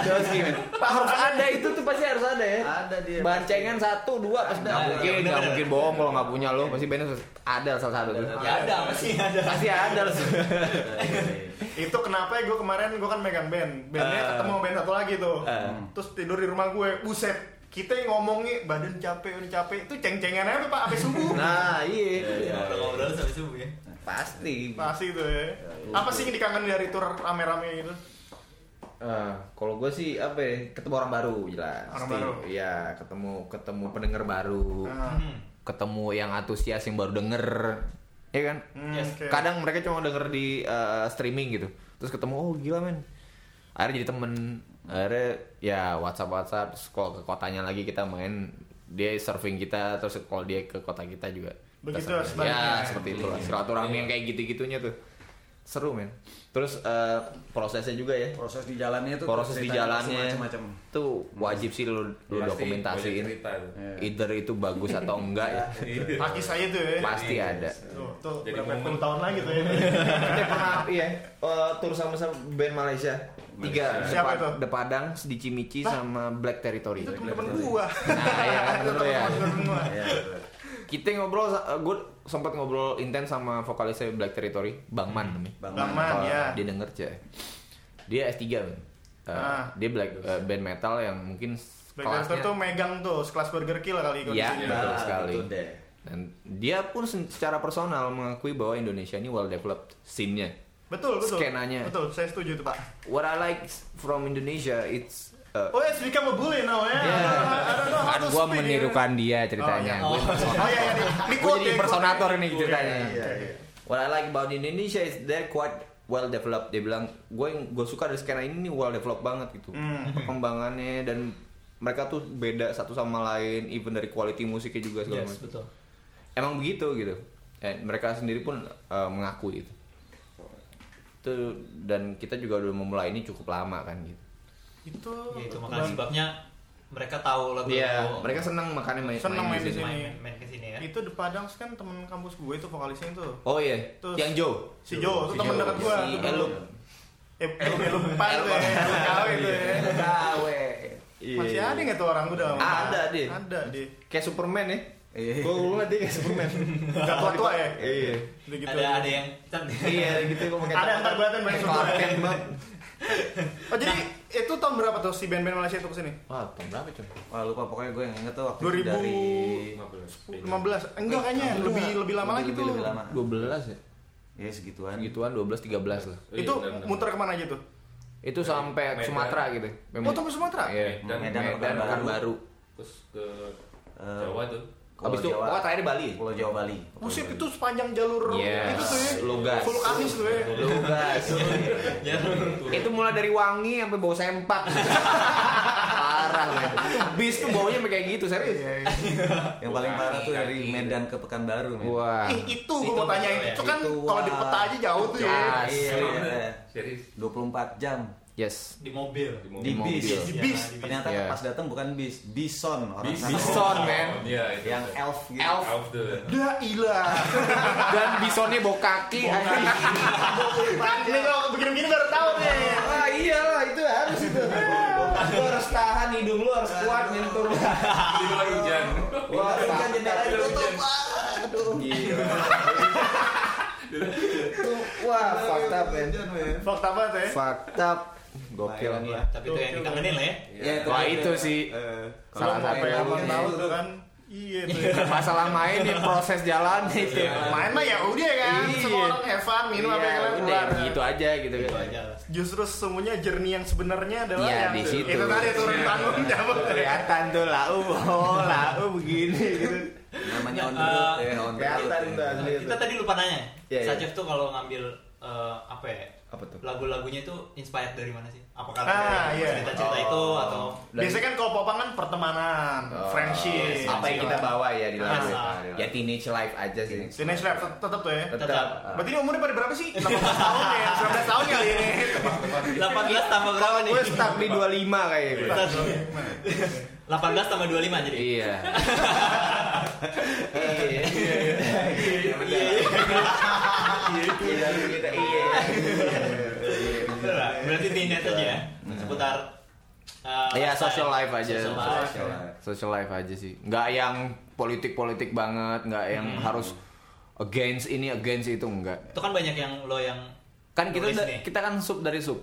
Joski man Pak, harus ada itu tuh pasti harus ada ya
Ada dia.
bancengan satu dua pasti nggak mungkin nggak mungkin bohong kalau nggak punya lo pasti bandnya ada Iya, salah satu tuh
Ya ada, pasti ada.
pasti ada lah
Itu kenapa gue kemarin gue kan megang band. Bandnya
Eh.
ketemu band satu lagi tuh.
Eh.
Terus tidur di rumah gue. Buset. Kita yang ngomongnya badan capek, udah capek. Itu ceng-cengan aja Pak, sampai subuh.
nah
Ya,
iya
Ngobrol-ngobrol sampai subuh ya.
pasti
Pasti itu ya. Apa sih yang dikangen dari tur rame-rame itu?
Eh, kalau gue sih apa ya ketemu orang baru jelas
Orang
Pasti.
baru.
iya ketemu ketemu pendengar baru
Nah,
Hmm.
ketemu yang antusias yang baru denger ya kan
hmm,
Yes.
oke.
kadang mereka cuma denger di eh, streaming gitu terus ketemu oh gila men akhirnya jadi temen akhirnya ya WhatsApp WhatsApp terus kalau ke kotanya lagi kita main dia surfing kita terus kalau dia ke kota kita juga kita
Begitu
surfing.
sebaliknya. Iya.
ya seperti itu lah silaturahmi yang kayak gitu gitunya tuh seru men terus eh, prosesnya juga ya
Proses di jalannya tuh
proses di jalannya
macam-macam.
tuh wajib Iya sih lu, lu dokumentasiin Iya. either itu bagus atau enggak ya
Iya. Kaki saya tuh ya.
pasti ada
Tuh, tuh
Iya. Jadi
berapa
momen.
puluh tahun lagi tuh ya.
kita pernah iya eh, tur sama sama band Malaysia
tiga
Malaysia. Siapa
Depa-
itu?
The Padang, di Cimici sama Black Territory.
Itu temen-temen gua.
Nah, ya, kan,
Itu
bener ya.
temen-temen gua.
Iya,
Kita ngobrol, gue sempat ngobrol intens sama vokalisnya Black Territory, Bang Man namanya.
Bang
Hmm. Bang Man,
Kalau
ya.
Dia denger cek. Dia S3 men. Eh,
Ah.
Dia black eh, band metal yang mungkin
Backdaster
kelasnya
tuh megang tuh sekelas Burger Kill kali
Iya,
kondisinya.
betul
Nah,
sekali.
betul deh.
Dan dia pun sen- secara personal mengakui bahwa Indonesia ini well developed scene-nya.
Betul, betul.
Skenanya.
Betul, saya setuju tuh, Pak.
What I like from Indonesia it's uh,
Oh, it's become a bully now, ya.
Ya.
I don't know how
Kan
to
gue
speak, ya.
menirukan dia ceritanya.
Oh,
Gue
Oh, iya, iya. Ini
Gua
quote
jadi
ya,
impersonator
quote.
nih ceritanya.
Iya, iya.
What I like about Indonesia is they're quite well developed. Dia bilang, gue yang gue suka dari skena ini nih well developed banget gitu.
Hmm.
Perkembangannya dan mereka tuh beda satu sama lain, even dari quality musiknya juga segala
Yes,
macam.
betul.
Emang begitu gitu. Dan mereka sendiri pun uh, mengakui itu. Itu dan kita juga udah memulai ini cukup lama kan gitu.
Iya, Itu
Ya itu makanya sebabnya mereka tahu lagu
Iya, mereka senang makanya main,
Senang main di
sini.
sini.
main, main ke sini ya.
itu di Padang kan temen kampus gue itu vokalisnya itu.
Oh iya,
Terus-
yang Joe.
Si Jo, itu temen dekat gue.
Si Elup.
Eh, Elup, Elup, Pak itu ya. Elup Kau itu ya.
Gawe.
Eh, Masih ada nggak tuh orang udah?
Iya. Ada, dia.
Ada, dia.
Kayak Superman ya.
Iya.
Gue dulu nanti kayak Superman.
Udah tua-tua ya?
Iya.
Gitu.
ada ada yang
Iya gitu gua pakai
Ada
cakep.
ntar gue liatin banyak
Kayak Clark Kent banget.
Oh jadi itu tahun berapa tuh si band-band Malaysia itu kesini?
Wah, tahun berapa cuy?
Wah lupa pokoknya gue yang inget tuh waktu
2000.
dari
15 enggak kayaknya lebih lebih lama lagi tuh.
Lebih, lebih lama.
12 ya.
Ya segituan.
Gituan 12 13 lah.
Itu muter kemana aja tuh?
Itu sampai
Medan.
Sumatera gitu.
Oh sampai Sumatera?
Iya.
Medan,
Medan, Medan
Pekanbaru.
Pekanbaru.
Terus ke
Eh,
Jawa tuh.
Pulau
Oh,
Abis itu
Jawa.
pokoknya terakhir Bali.
Pulau Jawa Bali.
Buset Oh, itu sepanjang jalur
Yes.
itu tuh ya.
Iya. Lugas.
Vulkanis tuh ya.
Lugas.
ya
Itu mulai dari wangi sampai bau sempak. Parah men. Bis tuh baunya sampai kayak gitu, serius.
Iya, iya.
Yang paling parah tuh dari Medan ke Pekanbaru. men.
Wah.
Ih, itu gue mau
Itu,
tanyain
ya.
itu kan
Itu,
kalau di
wah.
peta aja jauh tuh ya.
Gas.
Iya. iya.
Serius.
24 jam
Yes.
di mobil.
Di
di
mobil.
bis.
mobil.
Di bis.
Iya,
Ternyata
Iya.
pas datang bukan bis, bison orang sana.
Bison, men.
Iya, itu.
Yang elf gitu.
Elf.
Elf tuh.
Dah ilah.
Dan bisonnya bau kaki. anjing. Iya.
Ini kalau begini-begini baru tahu ya. nih.
ah iyalah itu harus itu lu harus tahan hidung lu harus kuat nyentuh
Di luar hujan.
wah
Kan jendela
Di luar
ditutup.
hujan.
tuh, wah fakta men
Fakta apa tuh ya?
fakta
Gokil.
Iya, tapi itu yang dikangenin lah ya.
Iya,
Wah itu Eh, sih
Kalau
salah
mau
satu
pengen
yang
abang tahu tuh kan. Iya tuh. ya.
masalah main di proses jalan itu.
Main mah ya udah kan. Semua
Iya.
orang have fun, minum apa yang
Iya,
kalian
udah
keluar.
gitu aja gitu
Itu
kan.
aja lah.
Justru semuanya jernih yang sebenarnya adalah
Iya,
yang
di situ. Iya.
itu tadi turun tanggung jawab.
Kelihatan tuh lau, oh lau begini gitu.
Namanya on the
Eh,
road ya, on the road.
kelihatan tuh asli itu
iya,
Kita tadi lupa nanya.
Iya, iya.
Sacef tuh kalau ngambil eh, apa ya?
Apa tuh?
Lagu-lagunya itu inspired dari mana sih? Apakah
Ah,
dari
iya.
cerita-cerita itu atau
Biasanya kan kalau popang kan pertemanan, friendship,
Eh, Oh,
gitu.
apa yang kita bawa ya di lagu
Ah.
ya. ya teenage life aja sih
Teenage Life tet- tetep tuh ya.
Tetap.
tetap
Berarti ini umurnya pada berapa sih? 18 tahun ya, 19 tahun kali ini.
18 tambah berapa
Oh,
nih?
iya,
gue stuck di 25 kayak gue
18 tambah 25 jadi.
iya iya
Iya.
Iya, kita iya
Bener lah. Nah, Berarti tinet aja ya. Seputar eh,
Iya,
lifestyle.
social life aja.
Social life.
social life aja sih nggak yang politik politik banget nggak yang
Hmm.
harus against ini against itu enggak
Itu kan banyak yang lo yang
kan kita
nulis
da-
nih.
kita kan sub dari sub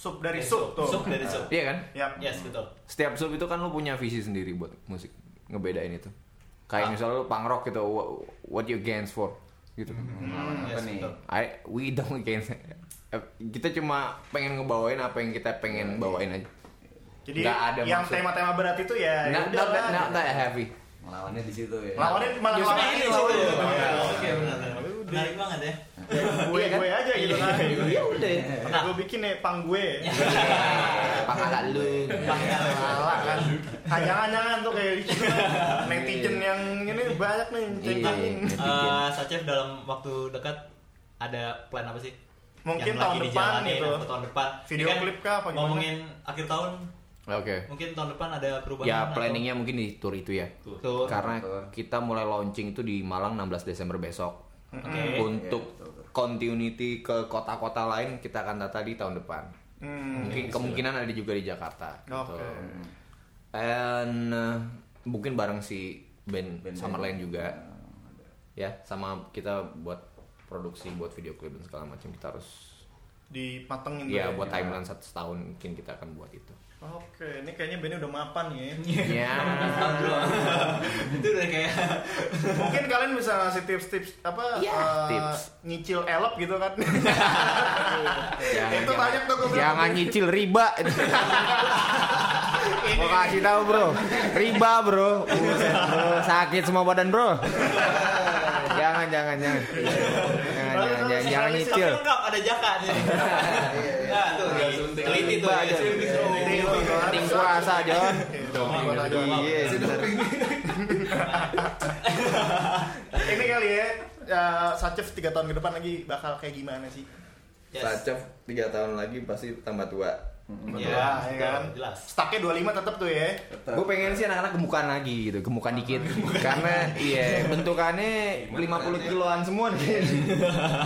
Sup dari sup tuh. Ya,
Sup dari sup.
iya kan
Yap.
Yes, betul.
setiap sub itu kan lu punya visi sendiri buat musik ngebedain itu kayak misalnya lu punk rock gitu wha- what you against for gitu
Hmm,
Yes, betul.
I we don't against eh, kita cuma pengen ngebawain apa yang kita pengen bawain aja Nah,
Jadi
Nggak ada
yang
maksud.
tema-tema berat itu ya
not,
udah
not,
lah.
not, not that heavy
Melawannya di situ ya.
Lawannya malah
Justru
lawannya
ini
itu.
sih,
Iya,
betul.
iya.
Oke, benar. benar. Menarik banget ya.
Iya
Gue gue aja gitu kan.
ya udah
Nah.
Gue bikin nih pang gue.
Iya. pangkalan lu
Salah kan. Jangan-jangan tuh kayak gitu. kan. Netizen yang ini banyak nih cengkangin.
Iya.
Eh, Sacef dalam waktu dekat ada plan apa sih?
Mungkin
Yang lagi
tahun depan
dijalanin
gitu.
atau tahun depan.
Video
Ini kan
klip kah apa gimana?
Ngomongin akhir tahun,
oke
mungkin tahun depan ada perubahan.
ya
atau-
planningnya mungkin di tour itu ya
Tuh.
karena kita mulai launching itu di Malang 16 Desember besok
Oke.
untuk continuity ke kota-kota lain kita akan tata di tahun depan
Hmm.
mungkin kemungkinan ada juga di Jakarta gitu.
Oke.
and uh, mungkin bareng si band, Summerland juga ya sama kita buat produksi buat video klip dan segala macam kita harus
Dipatengin tuh
ya buat timeline satu setahun mungkin kita akan buat itu
Oke, ini kayaknya bandnya udah mapan ya.
ya
Itu udah kayak
Mungkin kalian bisa ngasih tips-tips apa
Iya,
eh,
tips.
nyicil elop gitu kan.
jangan,
Itu banyak tuh gue bilang.
jangan nyicil riba Mau kasih tahu bro, riba bro, Buset, bro. sakit semua badan bro. jangan jangan jangan, jangan jangan jangan, jangan
Tapi
nyicil.
lengkap ada jaka
Iya,
nih. Nah, tuh di- teliti tuh.
Riba
ya,
aja.
teliti tuh.
Iya.
Penting puasa John. Iya, bener.
Ini kali ya, eh, Sacef 3 tahun ke depan lagi bakal kayak gimana sih?
Yes.
tiga tahun lagi pasti tambah tua.
Iya,
Lah, ya
betul,
kan?
Jelas.
Stucknya 25 tetap tuh ya.
Gue pengen sih anak-anak gemukan lagi gitu, gemukan dikit. Karena iya bentukannya 50 kiloan semua nih.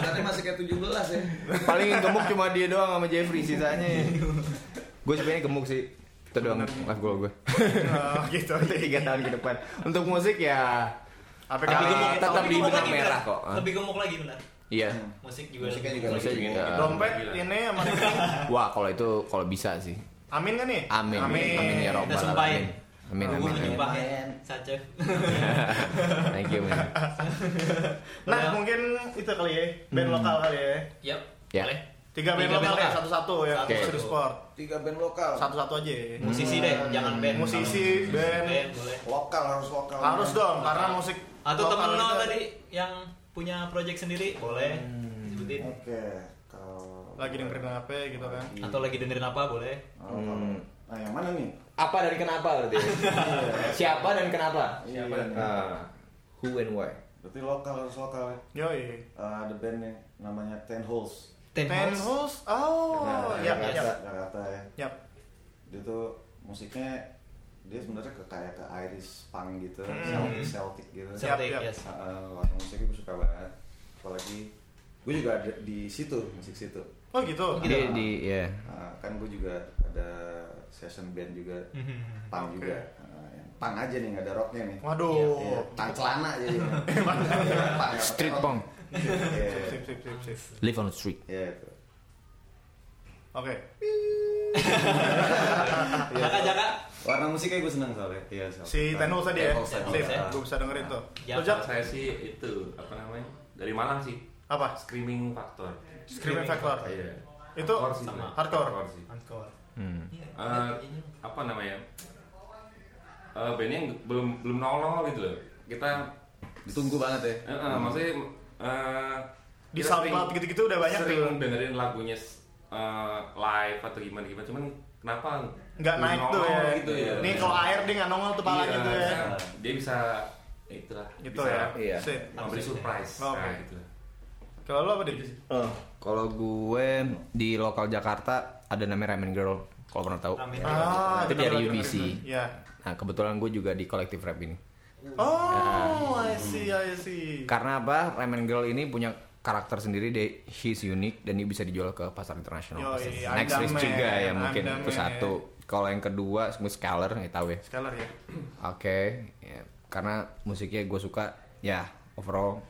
Nanti masih kayak 17 ya.
Paling yang gemuk cuma dia doang sama Jeffrey sisanya. Gue sebenarnya gemuk sih. Itu doang lah gue gue.
Oh, gitu.
Untuk tiga tahun ke depan. Untuk musik ya
Apa
Tapi
kali
gemuk tetap
Tapi
di
gemuk
benang
lagi,
merah
benar.
kok. Hah?
Lebih gemuk lagi benar.
Iya.
Musik juga.
Musiknya
lebih gitu.
juga
gemuk
Musik
lagi.
juga.
dompet ini sama
Iya. Wah, kalau itu kalau bisa sih.
Amin kan nih?
Amin.
Amin.
Amin ya
Kita
robbal
sumpahin.
alamin. Amin
Tunggu
amin. amin.
menyembah ya,
Amin.
Sacef.
Thank you man.
Nah, mungkin itu kali ya, band lokal kali ya.
Yap.
Ya.
Boleh.
Tiga band
Tiga
lokal
band
ya,
lokal.
satu-satu ya,
Satu.
Satu Sport.
Tiga band lokal.
Satu-satu aja ya. Hmm.
Musisi deh, jangan band.
Musisi, band.
Band boleh.
Lokal harus lokal. Ya.
Harus dong, karena musik
Atau
lokal
temen lo
kita
tadi yang punya project sendiri boleh sebutin.
Oke, kalau
lagi dengerin HP gitu kan.
Atau lagi dengerin apa boleh.
kalau- Nah, yang mana nih?
Apa dari kenapa berarti? Siapa dan kenapa?
Siapa?
Ah, who and why?
Berarti lokal harus lokal ya.
Yoi.
Eh, ada band yang namanya Ten Holes.
Ten
Ten Holes.
Holes.
Oh, iya. yap,
Nah, Jakarta,
yap,
Jakarta ya.
yap.
Dia tuh musiknya dia sebenarnya ke kayak ke Irish punk gitu, Celtic, Celtic gitu.
Yap,
Celtic,
yap.
yes.
Uh, warna musiknya gue suka banget. Apalagi gue juga ada di situ, musik situ.
Oh gitu.
Di di ya.
Uh, kan gue juga ada session band juga,
Mhm.
punk
Oke.
juga. Uh, yang punk aja nih, nggak ada rocknya nih.
Waduh.
Iya, punk celana jadi. Iya, punk, nggak
Street
pakai
punk.
rock. Iya,
Sip, sip, sip, sip.
Live on the street.
Iya, itu.
Oke.
Jaka Jaka.
Warna musiknya gue seneng soalnya. Iya, soalnya.
Si Ten Holes tadi ya.
Ten Holes tadi.
Sip,
ya.
gue bisa dengerin tuh.
Ya,
Lo, Jak,
Saya sih itu apa namanya dari Malang sih
apa?
screaming factor.
Screaming Factor.
Iya.
Itu
Hardcore sih,
sama.
Bang.
hardcore.
sih.
Encore.
Hmm.
Iya,
Eh,
ini.
apa namanya? Eh bandnya yang belum belum nongol gitu loh. Kita
Ditunggu banget
eh,
ya.
eh, maksudnya eh,
di
Kita
SoundCloud
sering-
gitu-gitu udah banyak
sering
tuh.
dengerin lagunya eh, live atau gimana gimana cuman kenapa
Nggak naik tuh
nongol
ya.
gitu ya
Nih kalau air dia nggak nongol tuh palanya
Iya,
tuh ya.
dia bisa ya itulah
Gitu
bisa
ya.
Iya.
Sip.
memberi surprise
Oke.
nah gitu
Kalau lo apa Ah, deh?
Oh. Kalau gue di lokal Jakarta ada namanya Ramen Girl. Kalau pernah tahu.
Ramen Girl.
Ah,
itu
kita
dari
pernah
UBC.
dengerin. Iya.
Nah kebetulan gue juga di kolektif rap ini.
Oh, I see, I see.
Karena apa? Ramen Girl ini punya karakter sendiri deh. He's unique dan dia bisa dijual ke pasar internasional.
Yoi,
Pasti.
I'm
Next
the
list
man,
juga ya
I'm
mungkin
the
itu
man.
satu. Kalau yang kedua semua Scalar nggak tahu ya.
Stellar ya.
Oke, ya, karena musiknya gue suka ya overall.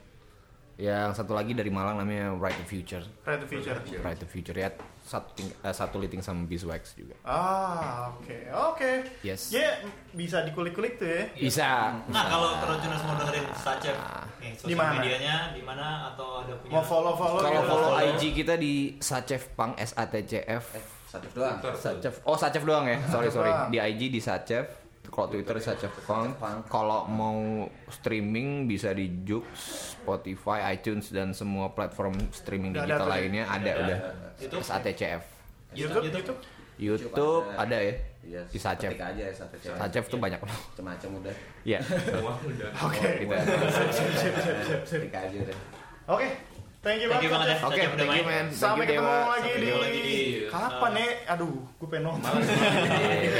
Ya, Yang satu lagi dari Malang namanya Right to Future.
Red to Future.
Right to Future ya satu ting- eh, satu liting sama Beeswax juga.
Ah, oke, oke.
Yes.
Ya, bisa dikulik-kulik tuh
Iya.
ya.
Bisa.
Nah, kalau Trojaners mau dengerin Sacep, nih,
Di
sosial
mana?
medianya di mana atau ada punya
Mau follow-follow
Kalau
gitu.
follow IG kita di Sacef Pang S A T C F.
satu doang
Sacef. Oh, Sacef doang ya. Sorry, sorry.
doang.
Di IG di Sacef. Kalau Twitter Sacef Pang. Kalau mau streaming bisa di Joox, Spotify, iTunes dan semua platform streaming
Udah ada
digital
tuh ya?
lainnya ada udah.
YouTube?
SATCF.
YouTube,
YouTube.
YouTube.
YouTube ada ya.
Iya,
Di Sacef.
ketik aja ya satu cewek.
Sacef tuh banyak loh.
Macam-macam udah.
Iya.
semua udah
Oke.
Gitu.
Ketik aja udah.
Oke. Thank you
Thank you banget
banget.
ya.
Oke,
Sacef udah
thank you
main.
man. Thank
Sampai
you, Dewa.
ketemu lagi
Sampai
di
ketemu lagi.
kapan ya? Aduh, gue pengen nongol.
Eh,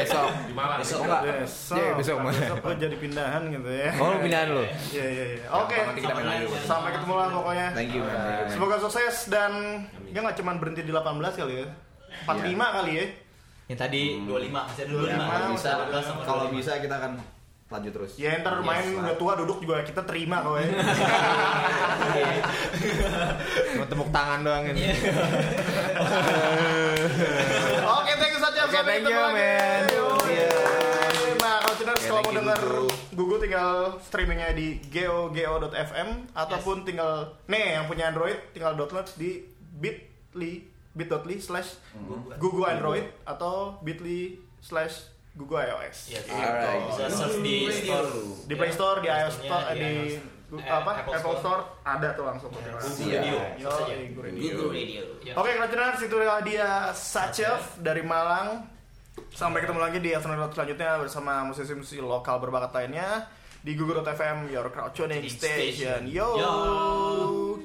Besok.
di Malang
Besok enggak?
Besok.
Iya, besok.
Besok gue jadi pindahan gitu ya.
Oh, lu pindahan lu.
Iya, iya, iya. Oke.
Gampang, nanti kita main lagi.
Sampai ketemu lah pokoknya.
Thank you man.
Semoga sukses dan dia nggak cuma berhenti di 18 kali ya.
Iya.
45 kali ya.
Yang tadi 25, masih ada
Ya,
25.
kalau bisa,
14 sama
kalau
25.
bisa kita akan lanjut terus.
Ya
Iya,
ntar
Yes,
main
lah.
udah tua duduk juga kita terima kok ya.
Cuma tepuk tangan doang ini.
Oke, thank you saja.
Oke, thank you, man. Iya.
Nah, kalau Ciners, kalau mau
Oke, thank you,
denger
Gugu.
Gugu tinggal streamingnya di gogo.fm ataupun tinggal nih yang punya Android tinggal download di bit.ly bit.ly slash Gugu Android atau bit.ly slash Gugu iOS.
Yes.
Alright.
Iya, Bisa search di store.
Di Play Store, di
Iya, Play
iOS
Store-nya,
Store, eh,
di
di
iOS.
Gu- apa
Eh, Apple
Apple
Store. Iya,
Store Iya. ada tuh langsung.
Google
Siap.
Radio.
Yo,
Search aja.
eh, Gugu Radio.
Google Radio. Ya.
Oke, Krajeners, itulah dia Sacef dari Malang. Sampai ketemu lagi di Astronaut selanjutnya bersama musisi-musisi lokal berbakat lainnya di Google.fm, your crowd tuning
Tuning
station.
station.
Yo.
Yo.